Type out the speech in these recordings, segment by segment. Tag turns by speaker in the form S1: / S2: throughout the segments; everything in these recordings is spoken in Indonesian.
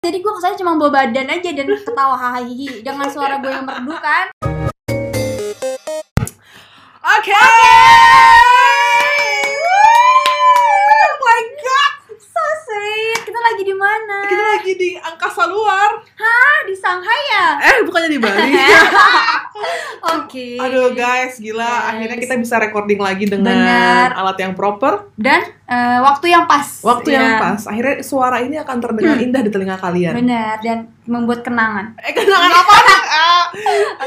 S1: tadi gue kesana cuma bawa badan aja dan ketawa hahihi dengan suara gue yang merdu kan
S2: Oke. Woo, Oh my god.
S1: so sweet kita lagi di mana
S2: Kita lagi di angkasa luar.
S1: ah di Shanghai ya
S2: Eh, bukannya di Bali.
S1: Iya. oke
S2: Aduh guys, gila
S1: Guys.
S2: akhirnya kita bisa recording lagi dengan
S1: Benar.
S2: alat yang proper,
S1: dan eh, waktu yang pas
S2: waktu yang
S1: Ya.
S2: pas. Akhirnya suara ini akan terdengar
S1: Hmm.
S2: indah di telinga kalian.
S1: benar dan membuat kenangan
S2: Eh, kenangan apa? nih? Ah,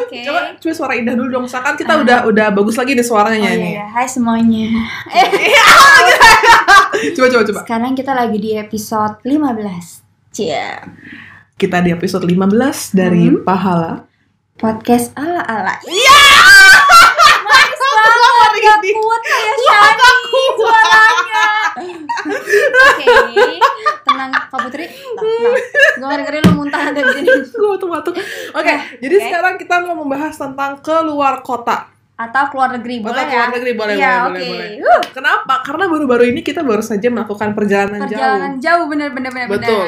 S1: oke Ah.
S2: Coba coba suara indah dulu dong. Misalkan kita udah udah bagus lagi nih
S1: Oh
S2: suaranya ini.
S1: iya, ya. hai semuanya. iya.
S2: Coba coba coba.
S1: Sekarang kita lagi di episode 15. Cie.
S2: Kita di episode 15 dari
S1: Hmm.
S2: Pahala.
S1: Podcast ala-ala.
S2: Iya.
S1: Manis banget, gak kuat ya Shani suaranya Oke, tenang Pak Putri Gue ngeri-ngeri lu muntah ada di sini
S2: Gue batuk-batuk. Oke, jadi
S1: Nah, oke.
S2: sekarang kita mau membahas tentang keluar kota.
S1: Atau keluar negeri,
S2: Atau
S1: boleh ya?
S2: keluar negeri boleh,
S1: Iya,
S2: boleh,
S1: oke.
S2: boleh, boleh.
S1: Huh,
S2: Kenapa? Karena baru-baru ini kita baru saja melakukan perjalanan,
S1: Perjalanan jauh, bener-bener
S2: jauh. Betul.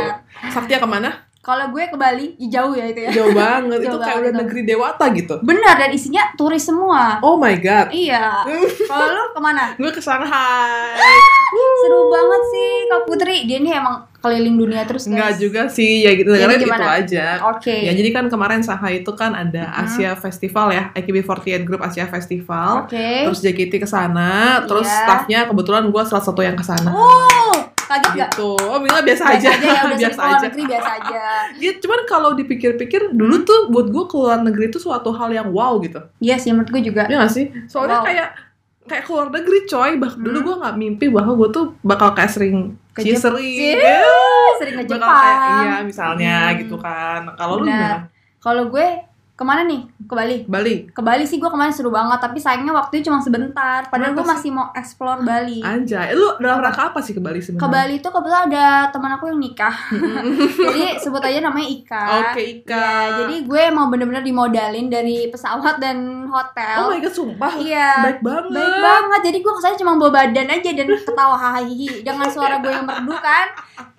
S2: Saktia kemana?
S1: Kalau gue ke Bali, ya jauh ya itu ya
S2: Jauh banget. itu
S1: Jauh
S2: kayak
S1: banget,
S2: udah
S1: betul.
S2: negeri dewata gitu.
S1: Bener, dan isinya turis semua
S2: Oh my god.
S1: Iya Kalau lu kemana?
S2: Gue ke Shanghai.
S1: Seru banget sih Kak Putri Dia nih emang keliling dunia terus guys.
S2: Enggak juga sih, ya gitu.
S1: Jadi
S2: Karena itu
S1: gimana?
S2: aja.
S1: Oke
S2: Ya jadi kan kemarin Shanghai itu kan ada Asia Festival ya, AKB48 Group Asia Festival.
S1: Oke
S2: Terus JKT ke sana, terus
S1: Iya.
S2: staffnya kebetulan gue salah satu yang ke sana.
S1: Wow, Oh, kaget gak?
S2: gitu. Oh, Mila biasa
S1: Baik
S2: aja.
S1: ya, udah biasa
S2: biasa
S1: keluar
S2: aja.
S1: negeri biasa aja.
S2: Ya, cuman kalau dipikir-pikir dulu tuh buat gue keluar negeri itu suatu hal yang wow gitu.
S1: Iya sih menurut gue juga.
S2: Ya gak sih? Soalnya
S1: Wow.
S2: kayak kayak keluar negeri coy. Bah dulu
S1: Hmm.
S2: gue nggak mimpi bahwa gue tuh bakal kayak sering
S1: Ke
S2: cheese
S1: Jep-
S2: sering.
S1: Cheese.
S2: Ya,
S1: Sering ke
S2: bakal kayak iya
S1: Jepang.
S2: misalnya
S1: Hmm.
S2: gitu kan. Kalau lu
S1: Benar.
S2: gimana?
S1: Kalau gue kemana nih? Ke Bali.
S2: Bali.
S1: Ke Bali sih gue kemarin seru banget, tapi sayangnya waktunya cuma sebentar. Padahal
S2: Kenapa
S1: gue masih mau explore Bali.
S2: Anjay. Eh, Lu dalam rangka apa sih ke Bali
S1: Iya. Ke
S2: sebenarnya?
S1: Bali itu kebetulan ada teman aku yang nikah. Jadi sebut aja namanya Ika.
S2: Oke, Ika.
S1: Ya, jadi gue emang bener-bener dimodalin dari pesawat dan hotel.
S2: Oh my god, sumpah.
S1: Iya.
S2: Baik banget.
S1: baik banget jadi gue kesana cuma bawa badan aja dan ketawa hahihi dengan suara gue yang merdu kan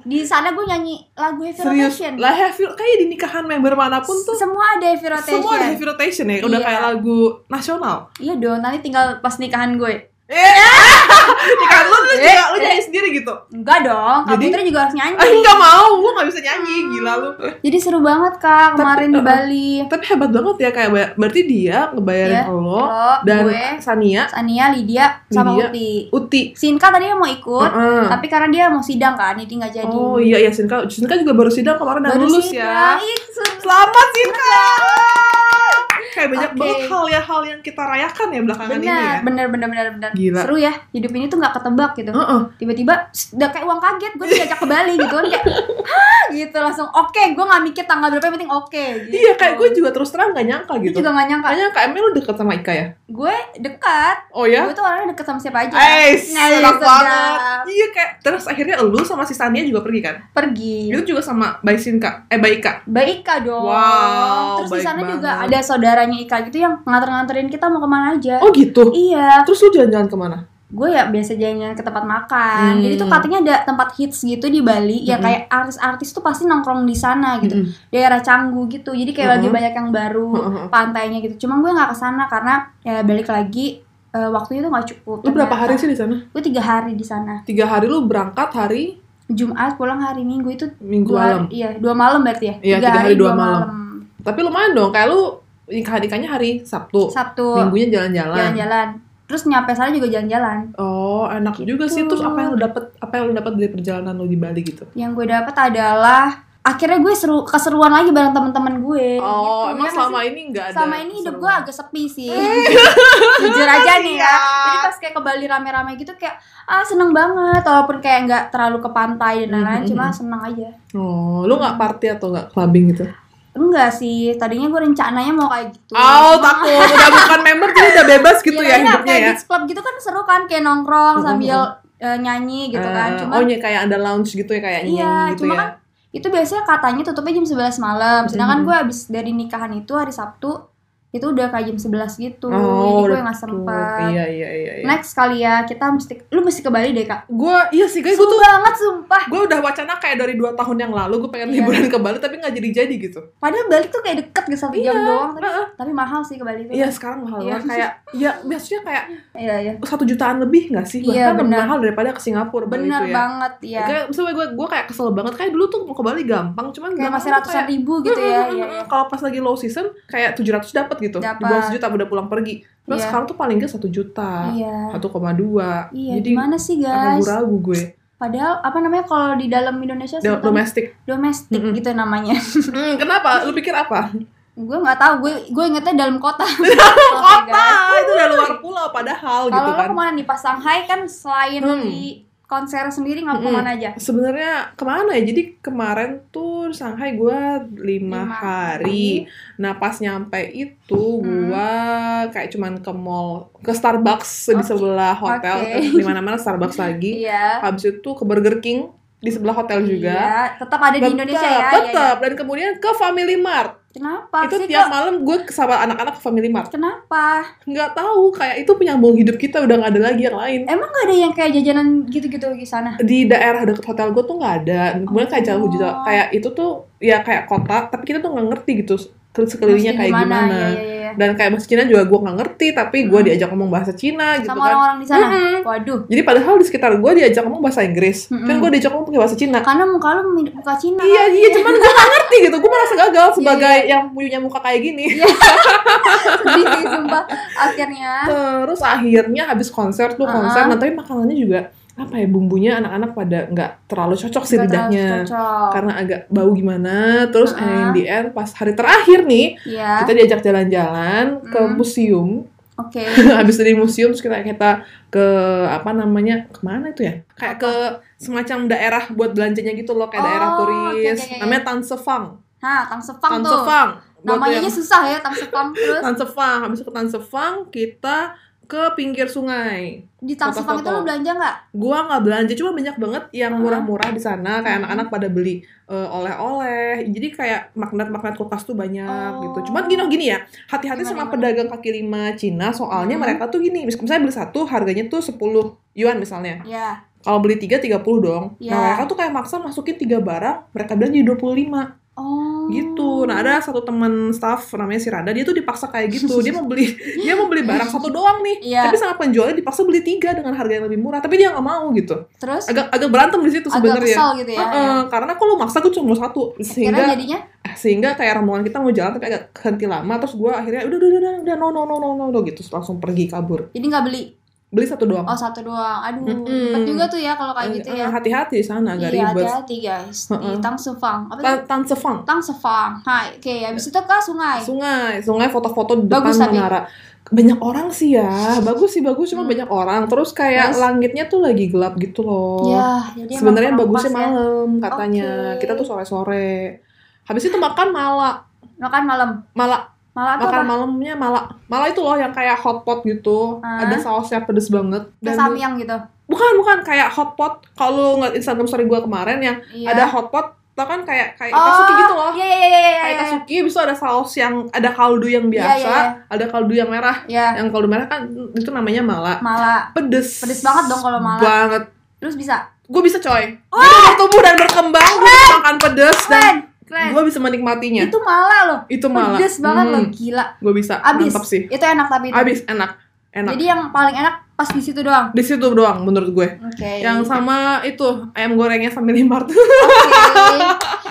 S1: di sana gue nyanyi lagu heavy
S2: Serius.
S1: rotation
S2: Lah, heavy, kayak di nikahan member manapun tuh
S1: semua ada heavy rotation
S2: Semua ada heavy rotation ya, udah
S1: Iya.
S2: kayak lagu nasional.
S1: iya dong nanti tinggal pas nikahan gue
S2: Eh, nikahan lu lu
S1: Eh,
S2: juga lu
S1: eh.
S2: nyanyi sendiri gitu.
S1: enggak dong kak
S2: Jadi?
S1: Putri juga harus nyanyi
S2: Ah, enggak mau, gua nggak bisa nyanyi,
S1: Hmm.
S2: gila lu.
S1: jadi seru banget kak kemarin di
S2: uh-uh.
S1: Bali
S2: Tapi hebat banget ya kayak ba- berarti dia ngebayarin
S1: Iya,
S2: lo
S1: lo
S2: oh, dan
S1: gue
S2: Sania,
S1: Sania Lydia sama
S2: Lydia.
S1: Uti
S2: Uti.
S1: Sinka tadi mau ikut
S2: Heeh.
S1: tapi karena dia mau sidang kan jadi nggak jadi
S2: Oh iya iya Sinka, Sinka juga baru sidang kemarin dan
S1: Baru
S2: lulus
S1: sidang.
S2: ya.
S1: Ih, seru.
S2: Selamat Sinka. Kayak banyak
S1: Oke.
S2: banget hal ya hal yang kita rayakan ya belakangan ini ya.
S1: bener, bener, bener, bener, bener.
S2: Gila.
S1: Seru ya, hidup ini tuh nggak ketebak gitu.
S2: Heeh.
S1: tiba-tiba "Sst," udah kayak uang kaget gue diajak ke Bali gitu kan kayak hah gitu langsung oke gue nggak mikir tanggal berapa yang penting oke gitu.
S2: Iya kayak gue juga terus terang gak nyangka
S1: Gue
S2: gitu.
S1: juga gak nyangka
S2: Kayaknya Kak Emil lu deket sama Ika ya?
S1: gue dekat
S2: Oh ya? Eh.
S1: gue tuh orangnya dekat sama siapa aja
S2: Ais,
S1: Nah,
S2: sedap
S1: sedap.
S2: banget. Iya kayak terus akhirnya lu sama si Sania juga pergi kan?
S1: pergi
S2: Itu juga sama Baisin Kak, eh Baik Kak.
S1: baik Ika dong
S2: Wow,
S1: terus di
S2: baik
S1: sana juga
S2: banget.
S1: ada saudaranya Ika gitu yang nganter-nganterin kita mau kemana aja
S2: Oh gitu.
S1: iya
S2: Terus lu jalan-jalan kemana?
S1: gue ya biasa jalan-jalan ke tempat makan
S2: Hmm.
S1: jadi tuh katanya ada tempat hits gitu di Bali ya
S2: Mm-mm.
S1: kayak artis-artis tuh pasti nongkrong di sana gitu
S2: Mm-mm.
S1: daerah Canggu gitu jadi kayak lagi
S2: Mhm.
S1: banyak yang baru
S2: Mhm.
S1: pantainya gitu cuman gue nggak kesana karena ya balik lagi eh, waktunya tuh nggak cukup
S2: Lu berapa hari
S1: ternyata.
S2: sih di sana?
S1: gue tiga hari di sana
S2: Tiga hari lu berangkat hari
S1: Jumat pulang hari Minggu itu
S2: Minggu
S1: dua
S2: malam.
S1: iya dua malam berarti ya
S2: Iya, tiga hari, dua malam. Tapi lumayan dong, kayak lu nikahan nikahnya hari Sabtu.
S1: Sabtu
S2: Minggunya jalan-jalan.
S1: jalan-jalan terus nyampe sana juga jalan-jalan
S2: Oh, enak
S1: Gitu.
S2: juga sih. Terus apa yang lu dapat apa yang lu dapat dari perjalanan lu di Bali gitu?
S1: yang gue dapat adalah akhirnya gue seru keseruan lagi bareng teman-teman gue
S2: Oh,
S1: gitu. Ya
S2: emang
S1: nggak
S2: selama
S1: sih?
S2: ini enggak ada.
S1: selama ini hidup gue
S2: keseruan? Iya.
S1: agak sepi sih jujur aja nih ya
S2: Kasihan.
S1: jadi pas kayak ke Bali rame-rame gitu kayak ah seneng banget walaupun kayak nggak terlalu ke pantai dan lain-lain
S2: Mm, mm,
S1: cuma
S2: mm.
S1: seneng aja
S2: Oh, lu nggak party atau nggak clubbing gitu?
S1: enggak sih tadinya gue rencananya mau kayak gitu
S2: Oh,
S1: Cuma-
S2: takut. Udah bukan member jadi udah bebas gitu ya,
S1: Iya, iya,
S2: hidupnya
S1: kayak
S2: ya. Hmm,
S1: beach club gitu kan seru kan kayak nongkrong sambil eh, nyanyi gitu kan
S2: Eh,
S1: cuma
S2: oh, ya, kayak ada lounge gitu ya kayak
S1: iya
S2: nyanyi gitu
S1: cuma
S2: ya.
S1: kan itu biasanya katanya tutupnya jam 11 malam sedangkan
S2: Mhm.
S1: gue abis dari nikahan itu hari Sabtu itu udah kayak jam 11 gitu
S2: Oh,
S1: jadi gue
S2: udah
S1: nggak
S2: tuh.
S1: sempet
S2: Iya iya iya. iya.
S1: next kali ya kita mesti lu mesti ke Bali deh kak
S2: Gue iya sih, guys,
S1: seru
S2: gue tuh
S1: banget sumpah
S2: gue udah wacana kayak dari dua tahun yang lalu gue pengen
S1: Iya.
S2: liburan ke Bali tapi nggak jadi-jadi gitu.
S1: padahal Bali tuh kayak deket gitu satu jam
S2: Iya,
S1: doang tapi,
S2: heeh.
S1: tapi mahal sih ke Bali tuh
S2: Iya sekarang mahal
S1: Iya.
S2: banget kayak ya maksudnya kayak
S1: iya iya
S2: satu jutaan lebih nggak sih
S1: Iya,
S2: bahkan lebih
S1: benar.
S2: mahal daripada ke Singapura Bali
S1: bener
S2: tuh ya.
S1: banget ya
S2: Kayak misalnya gue gue kayak kesel banget kayak dulu tuh mau ke Bali gampang cuman
S1: kayak Iya,
S2: gampang
S1: masih
S2: tuh
S1: ratusan
S2: kayak,
S1: ribu gitu
S2: "Mm,
S1: ya
S2: mm, mm,
S1: iya
S2: mm."
S1: iya
S2: Kalau pas lagi low season kayak 700 dapat gitu. Di bawah
S1: Dapat.
S2: 1 juta udah pulang pergi. Terus
S1: Iya.
S2: sekarang tuh paling nggak 1 juta.
S1: iya
S2: 1,2.
S1: iya
S2: Jadi
S1: gimana sih guys
S2: ragu-ragu gue.
S1: padahal apa namanya kalau di dalam Indonesia
S2: Do-
S1: sebutan
S2: Domestik.
S1: domestik
S2: Mm-mm.
S1: gitu namanya
S2: Hmm, kenapa? Lu pikir apa?
S1: gue nggak tahu gue gue ingetnya dalam kota Oke,
S2: Kota
S1: guys.
S2: Ah, itu udah luar pulau padahal gitu
S1: kalau lo
S2: kan.
S1: kemana nih pas Shanghai kan selain
S2: Hmm.
S1: di konser sendiri nggak
S2: Mm-mm.
S1: kemana aja
S2: Sebenarnya kemana ya? Jadi kemarin tuh Shanghai gue
S1: Lima
S2: lima hari. Nah pas nyampe itu
S1: Hmm.
S2: gue kayak cuman ke mall, ke Starbucks di
S1: Oke.
S2: sebelah hotel,
S1: Oke.
S2: di mana mana Starbucks lagi.
S1: iya
S2: Habis itu ke Burger King di sebelah hotel juga.
S1: Iya, tetap ada di
S2: Tetap,
S1: Indonesia ya, iya, iya. Oh,
S2: tetap. Dan kemudian ke Family Mart.
S1: Kenapa
S2: itu
S1: sih kok?
S2: tiap malam gue sama anak-anak ke Family Mart.
S1: Kenapa?
S2: Nggak tahu kayak itu penyambung hidup kita udah nggak ada lagi yang lain.
S1: Emang gak ada yang kayak jajanan gitu-gitu di sana?
S2: di daerah dekat hotel gue tuh nggak ada kemudian kayak jauh juga
S1: Oh.
S2: kayak itu tuh ya kayak kota tapi kita tuh nggak ngerti gitu ke- sekelilingnya
S1: Mesti
S2: kayak gimana, Gitu
S1: Iya, iya, iya.
S2: dan kayak bahasa Cina juga gue nggak ngerti tapi gue
S1: Hmm.
S2: diajak ngomong bahasa Cina gitu
S1: Sama
S2: kan
S1: orang-orang di sana?
S2: Mm-mm.
S1: Waduh.
S2: jadi padahal di sekitar gue diajak ngomong bahasa Inggris
S1: Mm-mm.
S2: kan gue diajak ngomong pakai bahasa Cina
S1: Karena muka lu mirip muka Cina.
S2: iya
S1: kan?
S2: iya cuman gue nggak ngerti gitu gue merasa gagal sebagai yang punya muka kayak gini
S1: Iya. Sedih sih, sumpah. Akhirnya.
S2: terus akhirnya habis konser tuh konser
S1: Uh-uh.
S2: nah tapi makanannya juga apa ya bumbunya anak-anak pada nggak terlalu cocok sih
S1: nggak terlalu
S2: lidahnya
S1: Cocok.
S2: ya karena agak bau gimana terus
S1: Ah.
S2: and in the end pas hari terakhir nih
S1: Iya.
S2: kita diajak jalan-jalan ke
S1: Hmm.
S2: museum
S1: Oke.
S2: habis dari museum terus kita kita ke apa namanya kemana itu ya kayak ke semacam daerah buat belanjanya gitu loh kayak
S1: Oh,
S2: daerah turis
S1: iya, iya, iya.
S2: namanya Tansefang
S1: Nah, Tang Sepang tuh.
S2: Tansefang Buat
S1: Namanya aja
S2: yang-
S1: susah ya, Tang Sepang. Terus
S2: Tansefang habis ke Tansefang kita ke pinggir sungai
S1: di Tang Sepang itu
S2: Foto-foto.
S1: lu belanja nggak?
S2: gua nggak belanja cuma banyak banget yang
S1: Ah.
S2: murah-murah di sana
S1: Hmm.
S2: kayak anak-anak pada beli eh, oleh-oleh jadi kayak magnet-magnet kulkas tuh banyak
S1: Oh.
S2: gitu cuman gini gini ya hati-hati
S1: Gimana,
S2: sama
S1: gimana?
S2: pedagang kaki lima Cina soalnya
S1: Hmm.
S2: mereka tuh gini mis- misalnya beli satu harganya tuh 10 yuan misalnya
S1: Iya.
S2: kalau beli tiga 30 dong nah
S1: Ya.
S2: mereka tuh kayak maksa masukin tiga barang mereka bilang jadi 25
S1: Oh.
S2: gitu nah ada satu teman staff namanya si Rada dia tuh dipaksa kayak gitu dia mau beli dia mau beli barang satu doang nih
S1: Iya.
S2: tapi sama penjualnya dipaksa beli tiga dengan harga yang lebih murah tapi dia nggak mau gitu
S1: Terus
S2: agak agak berantem di situ
S1: agak
S2: sebenarnya.
S1: kesal gitu ya.
S2: Heeh, karena kalau maksa gue cuma mau satu
S1: Akhirnya
S2: sehingga
S1: jadinya
S2: eh, sehingga kayak rombongan kita mau jalan tapi agak kehenti lama terus gue akhirnya udah udah udah udah, udah no no no no no no," gitu Terus langsung pergi kabur
S1: jadi nggak beli.
S2: beli satu doang
S1: Oh satu doang. Aduh,
S2: Mm-mm.
S1: ribet juga tuh ya kalau kayak
S2: Eh,
S1: gitu
S2: eh,
S1: ya.
S2: hati-hati di sana agak
S1: Iya,
S2: ribet
S1: hati-hati guys. Di
S2: Heeh.
S1: Tang Sepang. Apa tuh?
S2: Tan- Tan Sefang
S1: Tang Sepang. Hai, oke. Habis itu ke sungai.
S2: sungai sungai foto-foto depan
S1: Bagus tapi.
S2: menara banyak orang sih ya bagus sih bagus cuma
S1: Hmm.
S2: banyak orang terus kayak
S1: Terus?
S2: langitnya tuh lagi gelap gitu loh
S1: Ya, jadi emang
S2: Oh. sebenarnya
S1: kurang pas
S2: bagusnya
S1: ya.
S2: malam katanya
S1: Oke.
S2: kita tuh sore-sore habis itu makan malah
S1: Makan malam.
S2: malah
S1: Malam apa?
S2: makan malamnya malah malah itu loh yang kayak hotpot gitu
S1: Ah.
S2: ada sausnya pedes banget
S1: Ke
S2: dan
S1: Samyang gitu.
S2: bukan bukan kayak hotpot kalau nggak Instagram story gue kemarin yang
S1: Iya.
S2: ada hotpot tau kan kayak kayak
S1: oh,
S2: tasuki gitu loh
S1: Iya, iya, iya, iya.
S2: kayak
S1: iya,
S2: tasuki bisa ada saus yang ada kaldu yang
S1: Iya,
S2: biasa
S1: iya,
S2: ada kaldu yang merah
S1: Iya,
S2: yang kaldu merah kan itu namanya mala
S1: malah.
S2: pedes
S1: Pedes banget dong kalau mala.
S2: banget
S1: Terus bisa.
S2: gue bisa coy gue udah bertumbuh dan berkembang gue bisa makan pedes dan
S1: Keren, keren.
S2: gue bisa menikmatinya
S1: Itu malah loh.
S2: itu mala
S1: Pedes banget loh,
S2: Hmm,
S1: gila.
S2: gue bisa
S1: Abis. Gitu.
S2: mantap sih
S1: Itu enak tapi itu.
S2: abis enak enak
S1: Jadi yang paling enak pas di situ doang.
S2: di situ doang menurut gue
S1: Oke.
S2: yang sama itu ayam gorengnya Family Mart
S1: Oke.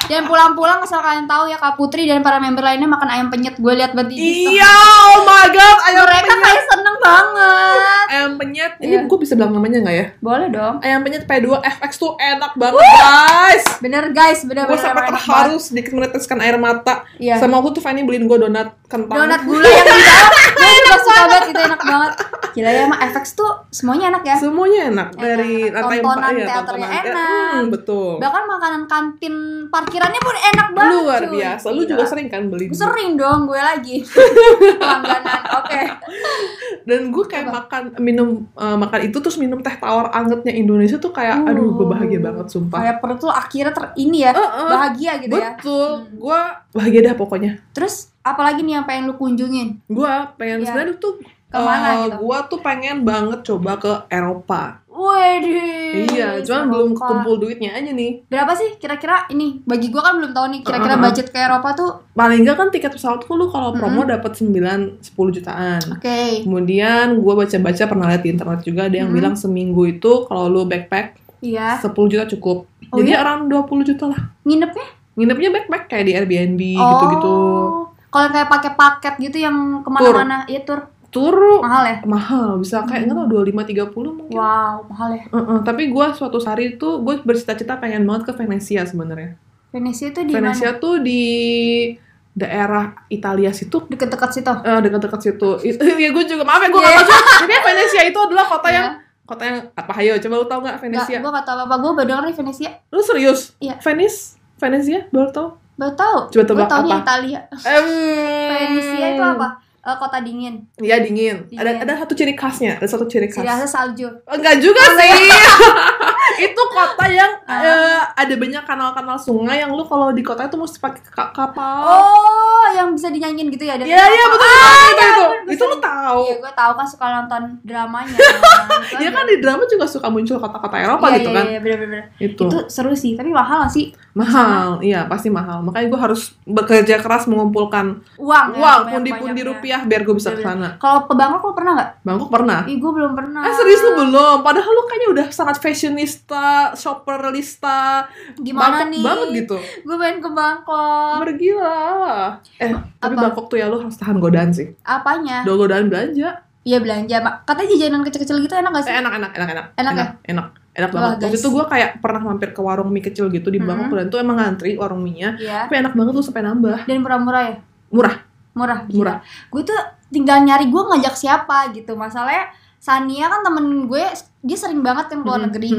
S1: Dan pulang-pulang asal kalian tahu ya Kak Putri dan para member lainnya makan ayam penyet. Gue lihat banget di Insta.
S2: iya oh my god ayam
S1: Mereka kan-
S2: penyet
S1: kayak seneng banget.
S2: ayam penyet ini
S1: Iya.
S2: gue bisa bilang namanya nggak ya
S1: Boleh dong.
S2: ayam penyet P2 FX tuh enak banget guys
S1: Bener guys, bener
S2: gue
S1: bener.
S2: sampai
S1: bener,
S2: terharu sedikit meneteskan air mata
S1: banget. Iya.
S2: sama waktu tuh Fanny beliin gue donat kentang
S1: Donat gula yang di dalam. Gue juga suka banget itu enak banget. Gila ya emang FX tuh semuanya enak ya.
S2: semuanya enak
S1: Enak.
S2: dari lantai
S1: Tontonan
S2: empat ya
S1: teaternya
S2: tontonan
S1: enak.
S2: Hmm, betul
S1: Bahkan makanan kantin parkirannya pun enak banget.
S2: luar
S1: cuy.
S2: biasa lu
S1: Gila.
S2: juga sering kan beli
S1: Gue sering dong gue lagi pelangganan. Oke.
S2: dan gue kayak makan minum eh, makan itu terus minum teh tawar angetnya Indonesia tuh kayak
S1: Uh.
S2: aduh gue bahagia banget sumpah
S1: Kayak perut tuh akhirnya ter ini ya
S2: Eh, eh.
S1: bahagia gitu ya.
S2: Betul,
S1: Hmm.
S2: gue bahagia dah pokoknya.
S1: Terus apalagi nih yang pengen lu kunjungin
S2: Gua pengen
S1: Iya.
S2: sebenarnya tuh
S1: Kemana
S2: eh,
S1: gitu?
S2: Gua tuh pengen banget coba ke Eropa.
S1: Waduh.
S2: iya, cuman
S1: Hmm, Eropa.
S2: belum kumpul duitnya aja nih.
S1: Berapa sih kira-kira ini? Bagi gua kan belum tahu nih kira-kira
S2: Uh-uh.
S1: budget ke Eropa tuh.
S2: Paling enggak kan tiket pesawatku lu kalau promo
S1: Hmm.
S2: dapat 9 10 jutaan.
S1: Oke.
S2: Kemudian gua baca-baca pernah lihat di internet juga ada yang
S1: Hmm.
S2: bilang seminggu itu kalau lu backpack
S1: Iya.
S2: 10 juta cukup.
S1: Oh
S2: Jadi
S1: iya? ya?
S2: around 20 juta lah.
S1: Nginepnya?
S2: Nginepnya backpack kayak di Airbnb
S1: Oh.
S2: gitu-gitu.
S1: Kalau kayak pakai paket gitu yang kemana-mana, iya tur
S2: Tur
S1: mahal ya?
S2: mahal bisa kayak enggak tahu 25 30 mungkin.
S1: Wow, mahal ya.
S2: Heeh, tapi gue suatu hari itu gue bercita-cita pengen banget ke Venesia sebenarnya.
S1: Venesia itu di mana?
S2: Venesia tuh di daerah Italia situ
S1: Deket-deket situ.
S2: eh, dekat-dekat situ. It- ya gue juga maaf ya gue
S1: Iya.
S2: nggak tahu juga. Jadi Venesia itu adalah kota yang kota yang apa ayo coba lu tau nggak Venesia?
S1: Enggak, Iya. gua kata apa-apa, gua baru denger nih Venesia.
S2: Lu serius?
S1: Iya.
S2: Venice? Venesia? Baru tau?
S1: Baru tahu.
S2: Coba tebak
S1: Gua taunya
S2: apa?
S1: Italia.
S2: Em,
S1: Venesia itu apa? Eh, kota dingin.
S2: Iya dingin.
S1: Dingin.
S2: Ada ada satu ciri khasnya. Ada satu ciri khas.
S1: Siriasa salju.
S2: Oh, Enggak juga sih. itu kota yang
S1: Oh, Ah.
S2: eh, ada banyak kanal-kanal sungai yang lu kalau di kota itu mesti pakai ka- kapal.
S1: Oh, yang bisa dinyanyiin gitu ya dari
S2: Iya iya betul banget itu.
S1: bener,
S2: Itu lu tahu.
S1: Iya, gue tahu kan suka nonton dramanya.
S2: Ya kan di drama juga suka muncul kota-kota Eropa gitu kan.
S1: Iya, bener bener.
S2: Itu.
S1: Itu seru sih, tapi mahal gak sih
S2: mahal. Iya, pasti mahal. Makanya gue harus bekerja keras mengumpulkan
S1: uang. ya, Iya,
S2: uang
S1: banyak-banyaknya.
S2: pundi-pundi rupiah biar gue bisa ke sana.
S1: Kalau ke Bangkok lo pernah nggak?
S2: Bangkok pernah?
S1: Ih, gue belum pernah.
S2: Ah serius lu belum? Padahal lu kayaknya udah sangat fashionista, shopperlista,
S1: Gimana
S2: Bangkok
S1: nih?
S2: banget gitu.
S1: Gue pengen ke Bangkok.
S2: Pergilah. Eh, tapi
S1: Apa? Ah.
S2: Bangkok tuh ya lu harus tahan godaan sih.
S1: Apanya?
S2: Do godaan belanja.
S1: Iya belanja. Mak. Katanya jajanan kecil-kecil gitu enak gak
S2: Eh
S1: sih?
S2: enak enak enak enak.
S1: Enak ya?
S2: enak, enak. Enak
S1: Wah,
S2: banget. Waktu
S1: guys.
S2: itu gue kayak pernah mampir ke warung mie kecil gitu di Bangkok
S1: Mhm.
S2: dan tuh emang ngantri warung mie-nya.
S1: Iya.
S2: Tapi enak banget tuh sampai nambah.
S1: Dan murah-murah ya?
S2: Murah.
S1: Murah. gila.
S2: Murah.
S1: Gue tuh tinggal nyari gue ngajak siapa gitu. Masalahnya Sania kan temen gue, dia sering banget kan
S2: Hmm,
S1: keluar negeri.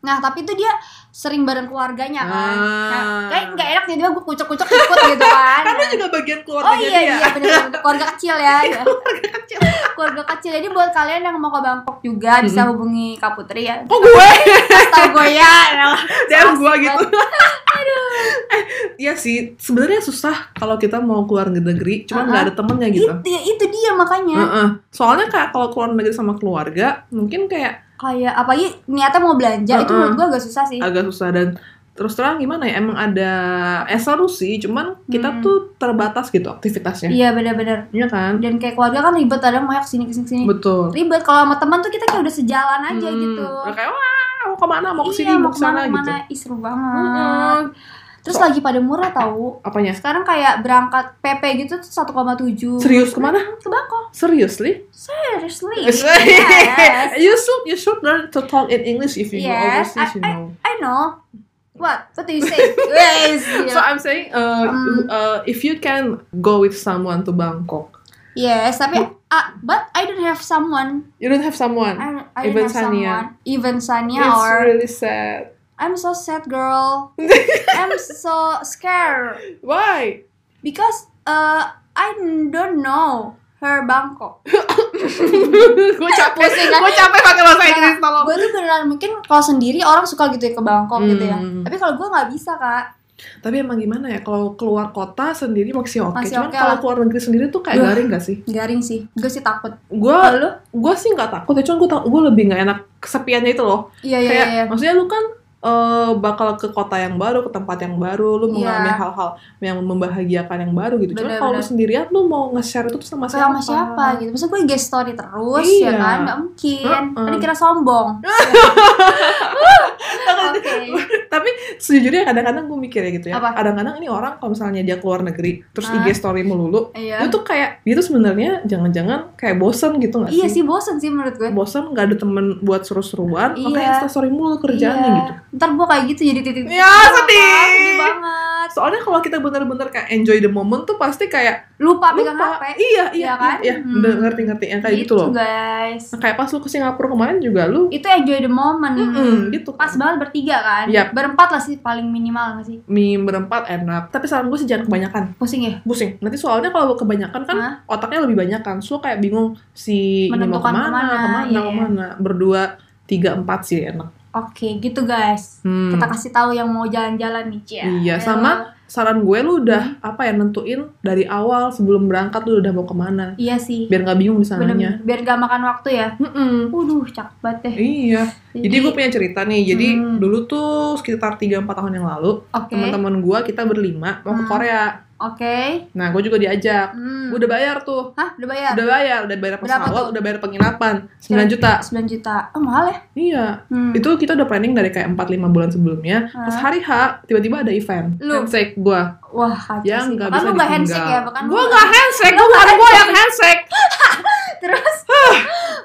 S1: Nah, tapi itu dia sering bareng keluarganya kan.
S2: Ah.
S1: Nah, kayak nggak enak jadi gue kucek-kucek ikut gitu kan.
S2: Karena juga bagian ya?
S1: Oh
S2: keluarganya
S1: iya
S2: dia.
S1: iya benar keluarga kecil ya.
S2: Iya,
S1: ya. keluarga kecil. Jadi buat kalian yang mau ke Bangkok juga
S2: Mm-hmm.
S1: bisa hubungi Kak Putri ya.
S2: Kok gue?
S1: Tahu gue ya.
S2: DM gue gitu. Aduh. eh, iya sih, sebenarnya susah kalau kita mau keluar negeri, cuman
S1: Uh-huh.
S2: nggak ada temennya gitu.
S1: Itu itu dia makanya.
S2: Heeh. Soalnya kayak kalau keluar negeri sama keluarga, mungkin kayak
S1: Kayak apalagi niatnya mau belanja itu menurut
S2: Mm-mm.
S1: gue agak susah sih.
S2: agak susah dan terus terang gimana ya emang ada eh seru sih cuman kita
S1: Hmm.
S2: tuh terbatas gitu aktivitasnya
S1: Iya benar-benar.
S2: iya kan
S1: Dan kayak keluarga kan ribet kadang mau kesini kesini kesini.
S2: betul
S1: Ribet kalau sama teman tuh kita kayak udah sejalan aja
S2: Hmm.
S1: gitu.
S2: kayak wah mau kemana mau kesini
S1: iya,
S2: mau kesana gitu
S1: kemana-mana. Ih, seru banget.
S2: Mm-mm.
S1: Terus
S2: So-
S1: lagi pada murah tau
S2: apanya
S1: Sekarang kayak berangkat PP gitu tuh 1,7
S2: serius kemana
S1: Ke Bangkok
S2: seriously
S1: Iya, Seriously Iya. Yes.
S2: you should you should learn to talk in English if you go
S1: Yes,
S2: overseas you
S1: I-
S2: know
S1: I know What? What do you say? Yes
S2: so I'm saying uh,
S1: Hmm.
S2: uh, if you can go with someone to Bangkok
S1: Yes, tapi ah, But I don't have someone
S2: you don't have someone
S1: I, I don't
S2: Even
S1: have
S2: Sania.
S1: someone Even Sania
S2: it's
S1: or
S2: really sad
S1: I'm so sad girl I'm so scared
S2: why
S1: Because uh, I don't know her Bangkok
S2: gue capek
S1: Pusing kan?
S2: gue capek pakai bahasa Inggris tolong
S1: gue tuh beneran mungkin kalau sendiri orang suka gitu ya ke Bangkok gitu ya
S2: Hmm.
S1: tapi kalau gue nggak bisa kak
S2: tapi emang gimana ya kalau keluar kota sendiri masih oke
S1: Masih
S2: cuman
S1: oke
S2: kalau
S1: lah.
S2: keluar negeri sendiri tuh kayak
S1: Duh.
S2: garing gak sih
S1: garing sih gue sih takut
S2: gue
S1: Lalu?
S2: gue sih nggak takut ya cuman gue gue lebih nggak enak kesepiannya itu loh
S1: iya iya
S2: kayak
S1: iya
S2: maksudnya lu kan eh, bakal ke kota yang baru ke tempat yang baru lu mengalami
S1: Iya.
S2: hal-hal yang membahagiakan yang baru gitu cuman
S1: Bener,
S2: kalau lu
S1: bener.
S2: sendirian lu mau nge-share itu tuh sama
S1: sama
S2: siapa
S1: siapa gitu Maksudnya gue guest story terus ya
S2: Iya.
S1: kan nggak mungkin
S2: Heeh.
S1: tadi kira sombong oke
S2: tapi sejujurnya kadang-kadang gue mikir ya gitu ya
S1: Apa?
S2: kadang-kadang ini orang kalau misalnya dia keluar negeri terus
S1: Ah.
S2: IG story melulu
S1: iya
S2: itu tuh kayak dia tuh sebenarnya jangan-jangan kayak bosen gitu nggak
S1: iya
S2: sih?
S1: sih bosen sih menurut gue
S2: bosen nggak ada temen buat seru-seruan
S1: Iya.
S2: makanya instastory mulu kerjaannya
S1: Iya.
S2: gitu
S1: ntar gue kayak gitu jadi titik
S2: Ya,
S1: Kenapa?
S2: sedih.
S1: sedih banget
S2: soalnya kalau kita bener-bener kayak enjoy the moment tuh pasti kayak
S1: lupa
S2: lupa
S1: pegang hp
S2: iya iya
S1: Iya kan?
S2: iya
S1: Hmm.
S2: Bener, ngerti-ngerti yang kayak gitu, loh
S1: guys
S2: Nah, kayak pas lu ke Singapura kemarin juga lu
S1: itu enjoy the moment
S2: Mm-mm, gitu
S1: pas banget bertiga kan
S2: Yap.
S1: berempat lah sih paling minimal nggak sih
S2: mie berempat enak tapi saran gue sih jangan kebanyakan
S1: pusing ya
S2: pusing nanti soalnya kalau lu kebanyakan kan
S1: Hah?
S2: otaknya lebih banyak kan so kayak bingung si ini mau
S1: Menentukan
S2: kemana
S1: kemana,
S2: kemana kemana,
S1: iya, iya.
S2: berdua tiga empat sih enak
S1: Oke, gitu guys.
S2: Hmm.
S1: Kita kasih tahu yang mau jalan-jalan nih, Cia.
S2: Iya,
S1: Ya.
S2: sama saran gue lu
S1: Hmm.
S2: udah apa ya nentuin dari awal sebelum berangkat lu udah mau kemana
S1: Iya sih.
S2: biar nggak bingung di sananya.
S1: Bener, biar gak makan waktu ya.
S2: Mm-mm.
S1: Waduh, cakep banget deh.
S2: Iya. Jadi gue punya cerita nih. Jadi
S1: Hmm.
S2: dulu tuh sekitar 3-4 tahun yang lalu
S1: Oke.
S2: teman-teman gue kita berlima mau ke
S1: Hmm.
S2: Korea.
S1: Oke.
S2: Nah gue juga diajak.
S1: Hmm.
S2: Udah bayar tuh.
S1: Hah, udah bayar?
S2: Udah bayar, udah bayar
S1: Berapa
S2: pesawat,
S1: tuh?
S2: udah bayar penginapan 9 juta.
S1: 9 juta. Oh, mahal ya?
S2: Iya.
S1: Hmm.
S2: Itu kita udah planning dari kayak 4-5 bulan sebelumnya.
S1: Hah?
S2: Pas hari H tiba-tiba ada event.
S1: Lu?
S2: Handshake gue.
S1: Wah, kacau
S2: Ya
S1: sih.
S2: nggak
S1: Bahkan
S2: bisa
S1: lu nggak handshake ya, bahkan lu
S2: Gue
S1: nggak-
S2: nggak handshake,
S1: Lu
S2: gue
S1: nggak
S2: gue yang handshake.
S1: Terus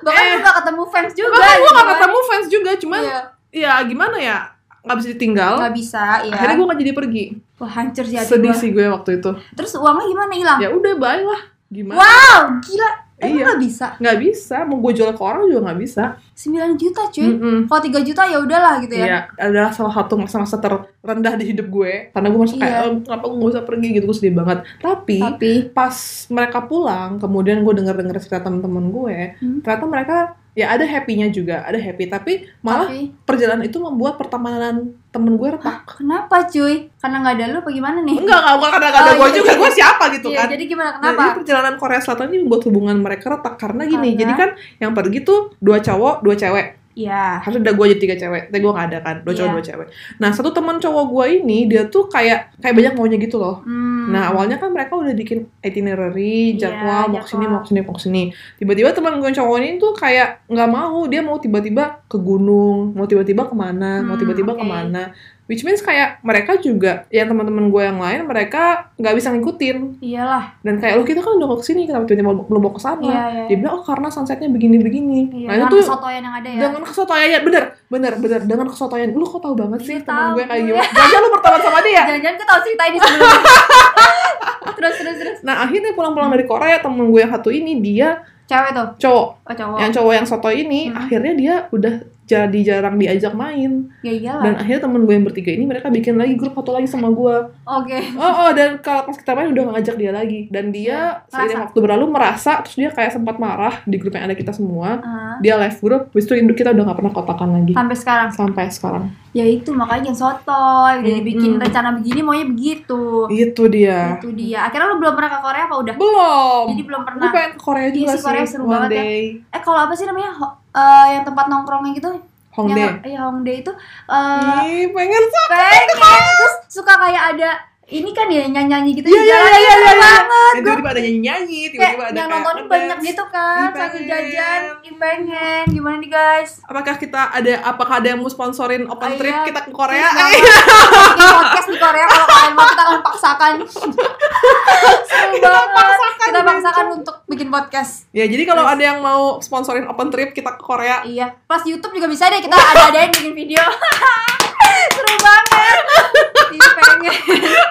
S1: bahkan lu gak ketemu fans juga.
S2: Bahkan gue Eh. nggak
S1: gitu kan.
S2: ketemu fans juga, cuman
S1: Iya.
S2: ya gimana ya nggak bisa ditinggal.
S1: Nggak bisa, ya.
S2: Akhirnya gue nggak jadi pergi.
S1: Wah, hancur sih hati
S2: Sedih
S1: gua.
S2: sih gue waktu itu.
S1: Terus uangnya gimana hilang?
S2: Ya udah bye lah. Gimana?
S1: Wow, gila. Emang
S2: Iya.
S1: nggak bisa.
S2: Nggak bisa, mau gue jual ke orang juga nggak bisa.
S1: 9 juta, cuy.
S2: Mm-mm.
S1: Kalau 3 juta ya udahlah gitu ya.
S2: Hmm. Iya, adalah salah satu masa-masa terendah di hidup gue Karena gue merasa kayak,
S1: Iya.
S2: "Eh, kenapa gue gak usah pergi gitu, gue sedih banget Tapi,
S1: Tapi
S2: pas mereka pulang, kemudian gue denger-denger cerita temen-temen gue
S1: Hmm.
S2: Ternyata mereka, ya ada happy-nya juga, ada happy Tapi malah
S1: tapi
S2: perjalanan itu membuat pertemanan temen gue retak
S1: kenapa cuy? Karena nggak ada lu apa gimana nih?
S2: Enggak, enggak, bukan karena gak ada
S1: Oh,
S2: gue
S1: iya,
S2: juga,
S1: iya.
S2: gue siapa gitu
S1: Iya,
S2: kan
S1: jadi gimana
S2: Jadi
S1: kenapa?
S2: perjalanan Korea Selatan ini membuat hubungan mereka retak Karena gini,
S1: Karena?
S2: jadi kan yang pergi tuh dua cowok, dua cewek
S1: Iya.
S2: harusnya udah gue aja tiga cewek tapi gue gak ada kan dua cowok
S1: Iya.
S2: dua cewek nah satu teman cowok gue ini dia tuh kayak kayak banyak maunya gitu loh
S1: Hmm.
S2: nah awalnya kan mereka udah bikin itinerary
S1: Iya,
S2: jadwal mau kesini
S1: jadwal.
S2: mau kesini mau kesini tiba-tiba teman gue yang cowok ini tuh kayak nggak mau dia mau tiba-tiba ke gunung mau tiba-tiba kemana mau
S1: Hmm,
S2: tiba-tiba
S1: oke.
S2: kemana which means kayak mereka juga ya teman-teman gue yang lain mereka nggak bisa ngikutin
S1: iyalah.
S2: dan kayak lo kita kan udah mau kesini kenapa tiba-tiba belum mau kesana
S1: Iya, iya.
S2: dia bilang oh karena sunsetnya begini-begini
S1: Iya,
S2: nah itu
S1: dengan
S2: tuh
S1: kesotoyan yang ada ya.
S2: dengan kesotoyan ya bener bener bener dengan kesotoyan lu kok tahu banget sih
S1: Iya,
S2: temen
S1: tahu
S2: gue kayak
S1: gue.
S2: gimana jangan lu berteman sama dia
S1: Eh, Jangan-jangan gue tahu cerita ini sebelumnya. terus terus terus.
S2: nah akhirnya pulang-pulang dari Korea temen gue yang satu ini dia
S1: Cewek tuh,
S2: cowok
S1: oh cowok.
S2: yang cowok yang soto ini
S1: Hmm.
S2: akhirnya dia udah jadi jarang diajak main
S1: Ya iyalah.
S2: dan akhirnya temen gue yang bertiga ini mereka bikin lagi grup foto lagi sama gue
S1: Oke.
S2: oh oh dan kalau pas kita main udah nggak ngajak dia lagi dan dia
S1: Hmm. Merasa.
S2: seiring waktu berlalu merasa terus dia kayak sempat marah di grup yang ada kita semua
S1: Ah,
S2: dia live grup, habis itu induk kita udah nggak pernah kotakan lagi
S1: sampai sekarang.
S2: sampai sekarang.
S1: Ya itu makanya jangan sotoy. Jadi
S2: Mm-mm.
S1: bikin rencana begini maunya begitu.
S2: Itu dia.
S1: Itu dia. Akhirnya lu belum pernah ke Korea apa udah?
S2: Belum.
S1: Jadi belum
S2: gue
S1: pernah.
S2: pengen ke Korea
S1: Iya
S2: juga
S1: sih, Korea
S2: sih
S1: seru
S2: one
S1: banget ya.
S2: day
S1: Eh kalau apa sih namanya? Ho- eh, yang tempat nongkrongnya gitu?
S2: Hongdae
S1: Yang, iya Hongdae itu eh
S2: ih pengen sa-
S1: pengen terus suka kayak ada ini kan ya nyanyi-nyanyi gitu
S2: Iya,
S1: di
S2: iya,
S1: jalan
S2: iya,
S1: ya,
S2: iya,
S1: seru
S2: iya.
S1: banget
S2: Dan
S1: gue
S2: tiba-tiba ada nyanyi nyanyi
S1: kayak
S2: tiba-tiba
S1: yang
S2: ada kayak
S1: nontonin
S2: ngedance.
S1: banyak gitu kan
S2: Ih,
S1: sambil
S2: pengen.
S1: jajan ih pengen gimana nih guys
S2: apakah kita ada apakah ada yang mau sponsorin open
S1: Oh,
S2: trip
S1: iya.
S2: kita ke Korea
S1: Please,
S2: Eh,
S1: jangan bikin podcast di Korea kalau kalian mau kita akan paksakan seru banget
S2: paksakan,
S1: kita
S2: Bento.
S1: paksakan untuk bikin podcast
S2: ya jadi kalau ada yang mau sponsorin open trip kita ke Korea
S1: iya plus YouTube juga bisa deh kita ada-adain bikin video seru banget ih pengen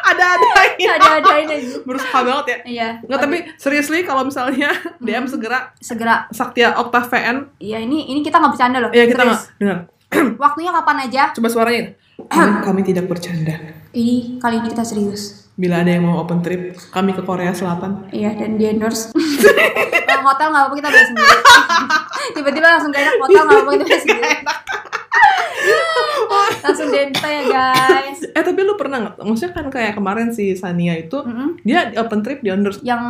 S2: ada ada
S1: Iya. ada-adain aja
S2: berusaha banget ya
S1: iya
S2: Nggak, tapi seriously kalau misalnya DM
S1: Mm-hmm.
S2: segera
S1: segera
S2: Saktia Okta VN
S1: Iya ini ini kita nggak bercanda loh.
S2: ya kita nggak
S1: Serius.
S2: dengar
S1: Waktunya kapan aja?
S2: coba suaranya kami, kami tidak bercanda
S1: Ini kali ini kita serius.
S2: bila ada yang mau open trip kami ke Korea Selatan
S1: Iya dan di endorse. Nah, hotel nggak apa-apa kita bayar sendiri. Tiba-tiba langsung gak enak hotel nggak apa-apa kita bayar sendiri. langsung dente ya guys.
S2: Eh tapi lu pernah nggak? Maksudnya kan kayak kemarin si Sania itu
S1: Mm-mm.
S2: dia di open trip di Honduras
S1: Yang
S2: yang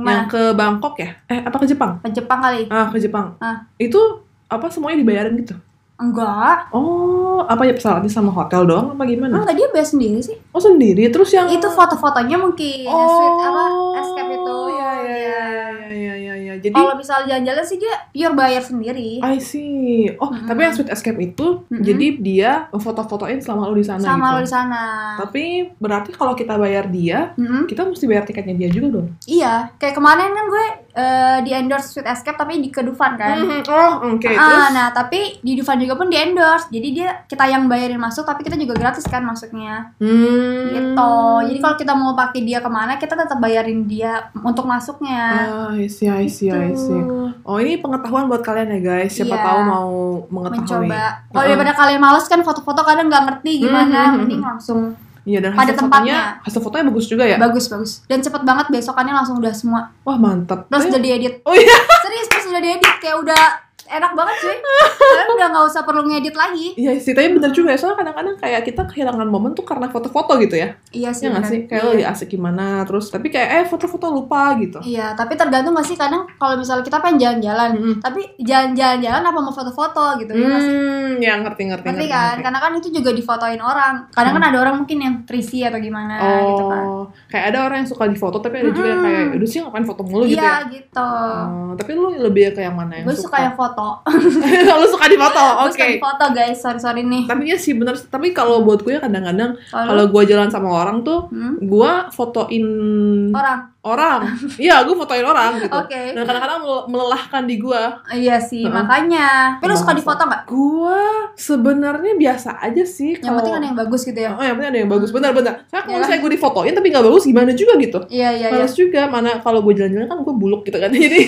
S1: mana?
S2: ke Bangkok ya? Eh apa ke Jepang?
S1: Ke Jepang kali?
S2: Ah ke Jepang.
S1: Ah.
S2: Itu apa semuanya dibayarin gitu?
S1: Enggak.
S2: Oh apa ya pesawatnya sama hotel doang apa gimana?
S1: Enggak dia bayar sendiri sih.
S2: Oh sendiri terus Hmm. yang Oh.
S1: Itu foto-fotonya mungkin. yang Suite apa? Escape itu. Iya, Oh,
S2: Ya ya ya ya ya ya. Jadi Ah, iya,
S1: Kalau misalnya jalan-jalan sih dia pure bayar sendiri.
S2: I see. Oh,
S1: Mm-mm.
S2: tapi yang sweet escape itu
S1: Mm-mm.
S2: jadi dia foto-fotoin selama lu di sana
S1: sama lo di
S2: gitu.
S1: sana.
S2: Tapi berarti kalau kita bayar dia,
S1: Mm-mm.
S2: kita mesti bayar tiketnya dia juga dong.
S1: Iya, kayak kemarin kan gue eh, di endorse Sweet Escape tapi di Kedufan kan.
S2: Mhm. Oh, oke. Terus
S1: Ah, nah tapi di Dufan juga pun di endorse, jadi dia kita yang bayarin masuk tapi kita juga gratis kan masuknya.
S2: Hmm.
S1: Gitu. Jadi kalau kita mau pakai dia kemana kita tetap bayarin dia untuk masuknya.
S2: Ah, I see, I see, I
S1: gitu.
S2: see.
S1: Tuh,
S2: Oh, ini pengetahuan buat kalian ya, guys. Siapa
S1: Iya.
S2: tahu mau mengetahui.
S1: mencoba. Kalau
S2: Heeh.
S1: daripada kalian males kan foto-foto kadang nggak ngerti gimana,
S2: ya. Hmm.
S1: mending langsung
S2: Iya, dan
S1: Pada
S2: hasil fotonya,
S1: tempatnya.
S2: hasil fotonya bagus juga ya.
S1: bagus bagus. Dan cepet banget besokannya langsung udah semua.
S2: Wah, mantap.
S1: Terus
S2: Eh,
S1: udah diedit.
S2: Oh iya.
S1: Serius terus udah diedit kayak udah enak banget cuy kalian udah nggak usah perlu ngedit lagi
S2: Iya sih, tapi bener juga ya. Soalnya kadang-kadang kayak kita kehilangan momen tuh karena foto-foto gitu ya.
S1: iya
S2: Iya
S1: sih
S2: nggak
S1: benar.
S2: sih? Kayak
S1: Iya.
S2: lagi asik gimana, terus tapi kayak eh foto-foto lupa gitu.
S1: Iya, tapi tergantung gak sih kadang kalau misalnya kita pengen jalan-jalan,
S2: Mm-mm.
S1: tapi jalan-jalan-jalan apa mau foto-foto gitu ya nggak sih?
S2: Hmm, ya ngerti ngerti.
S1: Ngerti kan? Karena kan itu juga difotoin orang. Kadang kan ada orang mungkin yang terisi atau gimana
S2: oh,
S1: gitu kan.
S2: kayak ada orang yang suka di foto tapi ada juga yang kayak,
S1: Mm-mm.
S2: aduh sih ngapain foto mulu gitu ya.
S1: Iya gitu.
S2: Oh, tapi lu lebih ke yang mana yang
S1: Gue suka yang foto.
S2: lu suka di foto,
S1: Gue
S2: oke.
S1: suka di foto guys, sorry sorry nih.
S2: Tapi ya sih bener, tapi kalau buat gue kadang-kadang
S1: Kalau
S2: kalau gue jalan sama orang tuh
S1: Hmm?
S2: gue fotoin
S1: orang,
S2: orang. Iya, gue fotoin orang gitu.
S1: Oh. oke.
S2: Dan kadang-kadang mel- melelahkan di gue.
S1: Iya sih,
S2: Heeh.
S1: makanya. Tapi lu suka di foto nggak?
S2: Gua sebenarnya biasa aja sih.
S1: Yang penting ada yang bagus gitu ya.
S2: Oh, yang penting ada yang bagus. Benar-benar. Soalnya kalau
S1: Yalah.
S2: misalnya gue difotoin tapi nggak bagus gimana juga gitu.
S1: Iya iya iya.
S2: Males juga mana kalau gue jalan-jalan kan gue buluk gitu kan. Jadi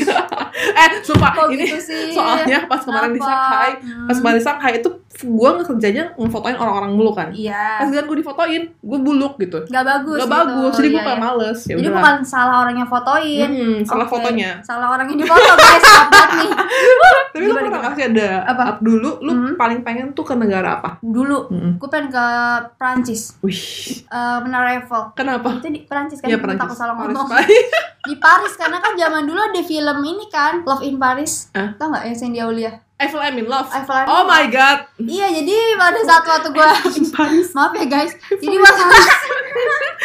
S2: eh sumpah
S1: Kok
S2: ini
S1: gitu sih?
S2: soalnya pas kemarin di
S1: Kenapa?
S2: Shanghai,
S1: Hmm.
S2: pas kemarin di Shanghai itu gue kerjanya ngefotoin orang-orang mulu kan.
S1: Iya.
S2: Pas kan gue difotoin, gue buluk gitu.
S1: Gak bagus.
S2: Gak
S1: gitu.
S2: bagus, jadi gue
S1: Iya,
S2: kayak
S1: iya.
S2: males. Ya
S1: Jadi
S2: udahlah.
S1: bukan salah orang yang fotoin.
S2: Hmm, salah
S1: Oke.
S2: fotonya.
S1: Salah orang yang difoto guys, maaf banget nih.
S2: Tapi lu
S1: Gimana,
S2: pernah
S1: gimana?
S2: kasih ada
S1: Apa?
S2: up dulu, lu
S1: Hmm.
S2: paling pengen tuh ke negara apa?
S1: Dulu
S2: Hmm.
S1: gue pengen ke Prancis,
S2: Wih,
S1: eh Menara Eiffel.
S2: kenapa?
S1: Itu di Prancis kan,
S2: Iya,
S1: gue takut salah
S2: Paris,
S1: ngomong.
S2: Paris.
S1: Di Paris karena kan zaman dulu ada film ini kan, Love in Paris.
S2: Hah?
S1: Tau nggak yang Cindy Aulia?
S2: Eiffel I'm in love.
S1: Eiffel Eiffel.
S2: Oh my god.
S1: Iya, jadi pada saat waktu gue
S2: Paris.
S1: maaf ya guys. Jadi waktu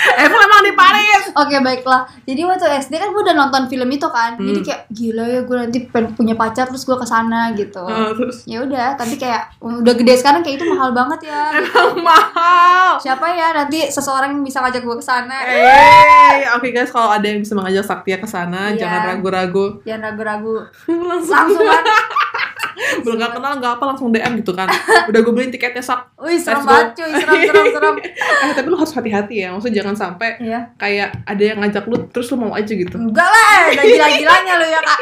S2: Eiffel emang di Paris.
S1: Oke baiklah. Jadi waktu SD kan gue udah nonton film itu kan. Jadi
S2: Hmm.
S1: kayak gila ya gue nanti pengen punya pacar terus gue kesana gitu.
S2: Eh, terus
S1: Ya udah, tapi kayak udah gede sekarang kayak itu mahal banget ya.
S2: emang mahal.
S1: Siapa ya nanti seseorang yang bisa ngajak gue kesana.
S2: Eh, oke guys, kalau ada yang bisa mengajak Saktia ke sana,
S1: Iya.
S2: jangan ragu-ragu.
S1: Jangan ragu-ragu.
S2: langsung
S1: Langsung kan.
S2: belum nggak kenal nggak apa langsung DM gitu kan. Udah gue beliin tiketnya sak.
S1: Wih serem
S2: Let's go.
S1: banget cuy, serem serem serem.
S2: Eh, tapi lu harus hati-hati ya. Maksudnya jangan sampai
S1: Iya.
S2: kayak ada yang ngajak lu terus lu mau aja gitu.
S1: Enggak lah, eh. udah gila-gilanya lu ya kak.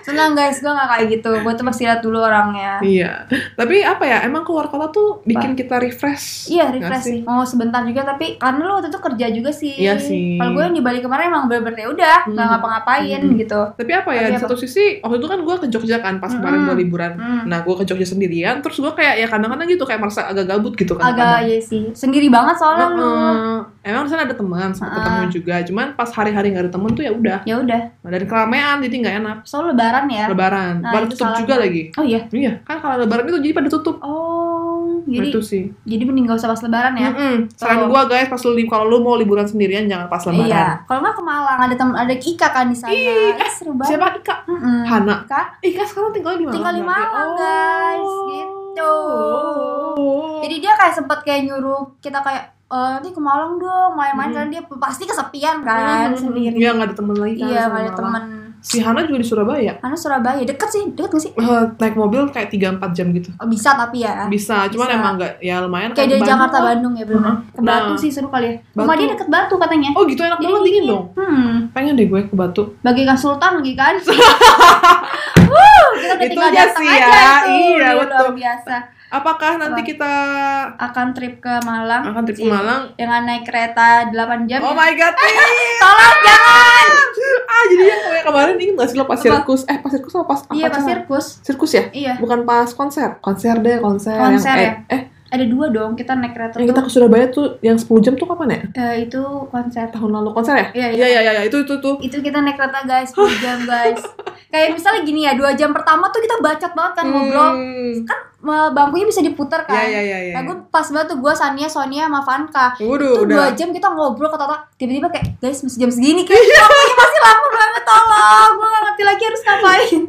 S1: Senang guys, gue gak kayak gitu. Gue tuh pasti lihat dulu orangnya.
S2: Iya. Tapi apa ya? Emang keluar kota tuh bikin kita refresh.
S1: Iya
S2: nggak
S1: refresh
S2: sih?
S1: sih. Mau sebentar juga tapi karena lu waktu itu kerja juga sih.
S2: Iya sih.
S1: Kalau gue yang di Bali kemarin emang bener-bener ya udah
S2: Hmm.
S1: nggak ngapa-ngapain
S2: Hmm.
S1: gitu.
S2: Tapi apa ya?
S1: Tapi
S2: di
S1: apa?
S2: satu sisi waktu itu kan gue ke Jogja kan pas kemarin gue
S1: Mm-mm.
S2: liburan.
S1: Hmm.
S2: Nah, gue ke Jogja sendirian, terus gue kayak ya kadang-kadang gitu kayak merasa agak gabut gitu kan.
S1: Agak ya sih. Sendiri banget soalnya lu.
S2: Hmm. emang di sana ada teman, sempat
S1: Heeh.
S2: ketemu juga. Cuman pas hari-hari nggak ada temen tuh ya udah.
S1: Ya udah.
S2: Nah, dari keramaian jadi nggak enak.
S1: Soal lebaran ya.
S2: Lebaran,
S1: Nah,
S2: baru
S1: itu
S2: tutup
S1: salahnya.
S2: juga lagi.
S1: Oh iya.
S2: Iya, kan kalau lebaran itu jadi pada tutup.
S1: Oh jadi
S2: itu sih.
S1: jadi mending gak usah pas lebaran ya.
S2: Mm-mm.
S1: Oh.
S2: Saran gue guys, pas lu kalau lu mau liburan sendirian jangan pas
S1: Iya.
S2: lebaran. Iya.
S1: Kalau nggak ke Malang ada teman ada Ika kan di sana. Ih, seru banget.
S2: Siapa Ika?
S1: Mm-mm.
S2: Hana.
S1: Kak,
S2: Ika sekarang tinggal di Oh. Malang.
S1: Tinggal di
S2: berarti.
S1: Malang, guys. Gitu.
S2: Oh.
S1: Jadi dia kayak sempet kayak nyuruh kita kayak "Eh, nanti ke Malang dong main-main
S2: Hmm.
S1: karena dia pasti kesepian kan
S2: Mm-mm.
S1: sendiri.
S2: Iya, nggak ada temen lagi kan.
S1: Iya, gak
S2: sama
S1: ada
S2: Malang.
S1: temen.
S2: Si Hana juga di Surabaya.
S1: Karena Surabaya deket sih, deket gak sih?
S2: Eh, naik mobil kayak 3-4 jam gitu.
S1: Oh, bisa tapi ya.
S2: Bisa, cuman
S1: Bisa.
S2: emang nggak ya lumayan.
S1: Kayak dari
S2: Bandung
S1: Jakarta
S2: lah.
S1: Bandung ya benar. Ke
S2: Nah.
S1: Batu sih seru kali ya. Rumah
S2: Batu.
S1: dia deket Batu katanya.
S2: Oh gitu enak
S1: Jadi
S2: banget dingin dong.
S1: Hmm,
S2: Pengen deh gue ke Batu.
S1: bagaikan sultan lagi kan. Wuh, kita udah
S2: Itu
S1: tinggal
S2: aja
S1: datang
S2: sih
S1: aja
S2: ya.
S1: itu.
S2: Iya,
S1: Luar
S2: betul.
S1: biasa.
S2: Apakah nanti
S1: Apa?
S2: kita
S1: Akan trip ke Malang
S2: akan trip ke
S1: Iya.
S2: Malang?
S1: dengan naik kereta 8 jam.
S2: Oh
S1: ya.
S2: my god, please.
S1: Tolong jangan.
S2: ah jadi yang kayak kemarin ini nggak sih lo pas
S1: Apa?
S2: sirkus? Eh pas sirkus apa pas apa
S1: Iya, pas
S2: acara?
S1: sirkus.
S2: Sirkus ya?
S1: Iya.
S2: Bukan pas konser, konser deh konser.
S1: Konser
S2: yang,
S1: ya?
S2: Eh, eh,
S1: Ada dua dong, kita naik kereta
S2: yang kita
S1: tuh.
S2: ke Surabaya tuh yang 10 jam tuh kapan ya?
S1: Eh, itu konser.
S2: Tahun lalu konser ya?
S1: Iya,
S2: Iya iya iya ya, itu itu tuh.
S1: itu kita naik kereta guys 2 jam guys kayak misalnya gini ya dua jam pertama tuh kita bacot banget kan ngobrol
S2: Kan?
S1: Me- bangkunya bisa diputar kan
S2: Hmm. Iya iya iya. iya.
S1: nah gue pas banget tuh gue Sania Sonia sama Vanka
S2: Waduh,
S1: tuh dua
S2: udah.
S1: jam kita ngobrol kata tiba-tiba kayak guys masih jam segini kayak waktunya masih lama banget tolong gue gak ngerti lagi harus ngapain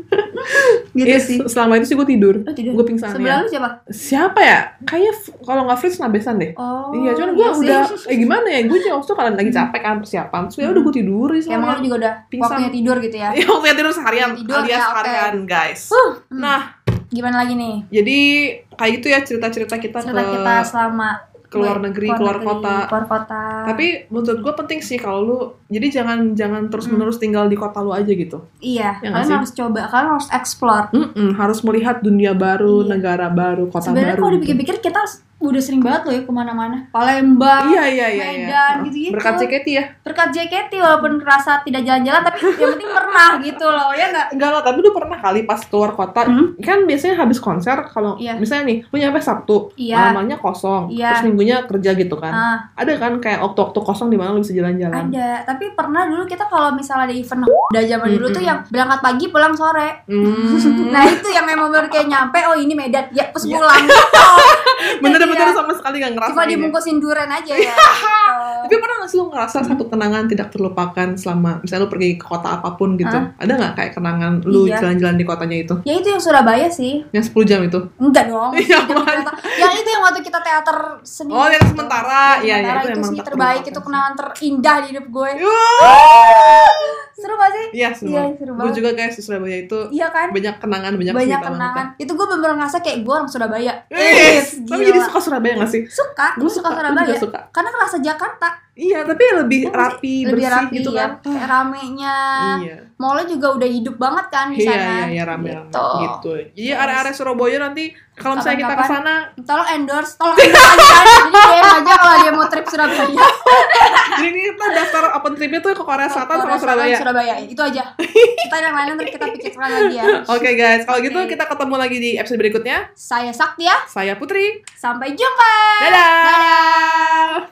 S1: gitu
S2: Iya,
S1: sih
S2: Selama itu sih gue tidur.
S1: Lu tidur
S2: Gue pingsan
S1: sebelah
S2: ya.
S1: lu siapa
S2: Siapa ya? Kayaknya f- kalau nggak Fritz nabesan deh.
S1: oh
S2: iya, cuman
S1: sih.
S2: gue
S1: Hmm.
S2: udah eh gimana ya? Gue juga waktu itu kalian lagi capek kan persiapan. Terus ya udah gue tidur sih.
S1: ya emang lu juga udah
S2: Pingsan.
S1: waktunya tidur gitu ya
S2: Iya, waktu itu tidur seharian
S1: Tidur,
S2: alias
S1: ya, oke.
S2: harian, guys.
S1: Huh, hmm.
S2: Nah,
S1: gimana lagi nih
S2: jadi kayak gitu ya cerita-cerita kita
S1: cerita
S2: ke
S1: kita selama
S2: ke luar negeri, keluar
S1: negeri,
S2: kota.
S1: keluar kota
S2: Tapi menurut gue penting sih kalau lu jadi jangan jangan terus-menerus
S1: Hmm.
S2: tinggal di kota lu aja gitu.
S1: Iya,
S2: Ya
S1: kalian
S2: nggak sih?
S1: harus coba, kalian harus explore.
S2: Mm-mm, harus melihat dunia baru,
S1: Iya.
S2: negara baru, kota
S1: Sebenarnya
S2: baru.
S1: kalau
S2: gitu.
S1: dipikir-pikir kita udah sering banget loh ya kemana-mana Palembang
S2: Iya iya iya. iya.
S1: Medan, gitu-gitu.
S2: Berkat JKT ya.
S1: berkat JKT walaupun kerasa tidak jalan-jalan tapi yang penting pernah gitu loh ya nggak
S2: Enggak lah, tapi lu pernah kali pas keluar kota
S1: Hmm.
S2: Kan biasanya habis konser kalau
S1: Iya.
S2: misalnya nih, lu nyampe Sabtu,
S1: Iya.
S2: malamnya kosong,
S1: Iya.
S2: terus minggunya kerja gitu kan.
S1: ah
S2: Ada kan kayak waktu-waktu kosong di mana lu bisa jalan-jalan.
S1: ada tapi pernah dulu kita kalau misalnya ada event udah zaman dulu tuh
S2: Mm-mm.
S1: yang berangkat pagi pulang sore
S2: Hmm.
S1: nah itu yang memang baru kayak nyampe oh ini Medan ya pas
S2: Iya.
S1: pulang
S2: Bener-bener
S1: Iya.
S2: sama sekali gak ngerasa gitu.
S1: cuma
S2: ini.
S1: dibungkusin duren aja ya gitu.
S2: Tapi pernah gak sih lu ngerasa satu kenangan tidak terlupakan selama misalnya lu pergi ke kota apapun gitu? Ada nggak kayak kenangan lu
S1: Iya.
S2: jalan-jalan di kotanya itu?
S1: ya itu yang Surabaya sih
S2: Yang 10 jam itu?
S1: enggak dong
S2: Iya,
S1: Yang
S2: apaan?
S1: ternyata- yang itu yang waktu kita teater seni
S2: Oh, yang sementara. Iya, iya,
S1: Sementara
S2: itu
S1: itu,
S2: emang
S1: sih
S2: tak
S1: terbaik
S2: terlupakan
S1: itu
S2: sih.
S1: kenangan terindah di hidup gue seru gak sih
S2: Iya, seru.
S1: iya
S2: banget.
S1: seru
S2: Gue
S1: banget
S2: juga guys di Surabaya itu
S1: iya kan
S2: banyak kenangan, banyak,
S1: banyak
S2: cerita
S1: kenangan itu gue bener ngerasa kayak gue orang Surabaya
S2: Yes,
S1: Yes,
S2: tapi
S1: gila.
S2: jadi suka Surabaya gak sih?
S1: suka gue suka,
S2: Gue
S1: Surabaya
S2: juga suka.
S1: karena kerasa Jakarta
S2: Iya, tapi lebih
S1: Iya,
S2: rapi,
S1: lebih
S2: bersih
S1: rapi
S2: gitu
S1: ya
S2: kan.
S1: kayak ramenya
S2: Iya.
S1: mallnya juga udah hidup banget kan di
S2: Iya,
S1: sana
S2: iya, iya, rame-rame
S1: Gitu.
S2: gitu. Jadi
S1: Terus-
S2: area-area Surabaya nanti kalau misalnya kita ke
S1: Kapan-kapan.
S2: sana,
S1: tolong endorse tolong endorse aja jadi DM aja kalau dia mau trip Surabaya
S2: jadi ini kita daftar open tripnya tuh ke Korea Selatan sama
S1: Kalau
S2: Surabaya.
S1: Surabaya itu aja kita yang lain nanti kita pikirkan lagi ya
S2: Oke guys, kalau gitu
S1: Oke.
S2: kita ketemu lagi di episode berikutnya.
S1: saya Sakti ya
S2: Saya Putri.
S1: sampai jumpa
S2: Dadah.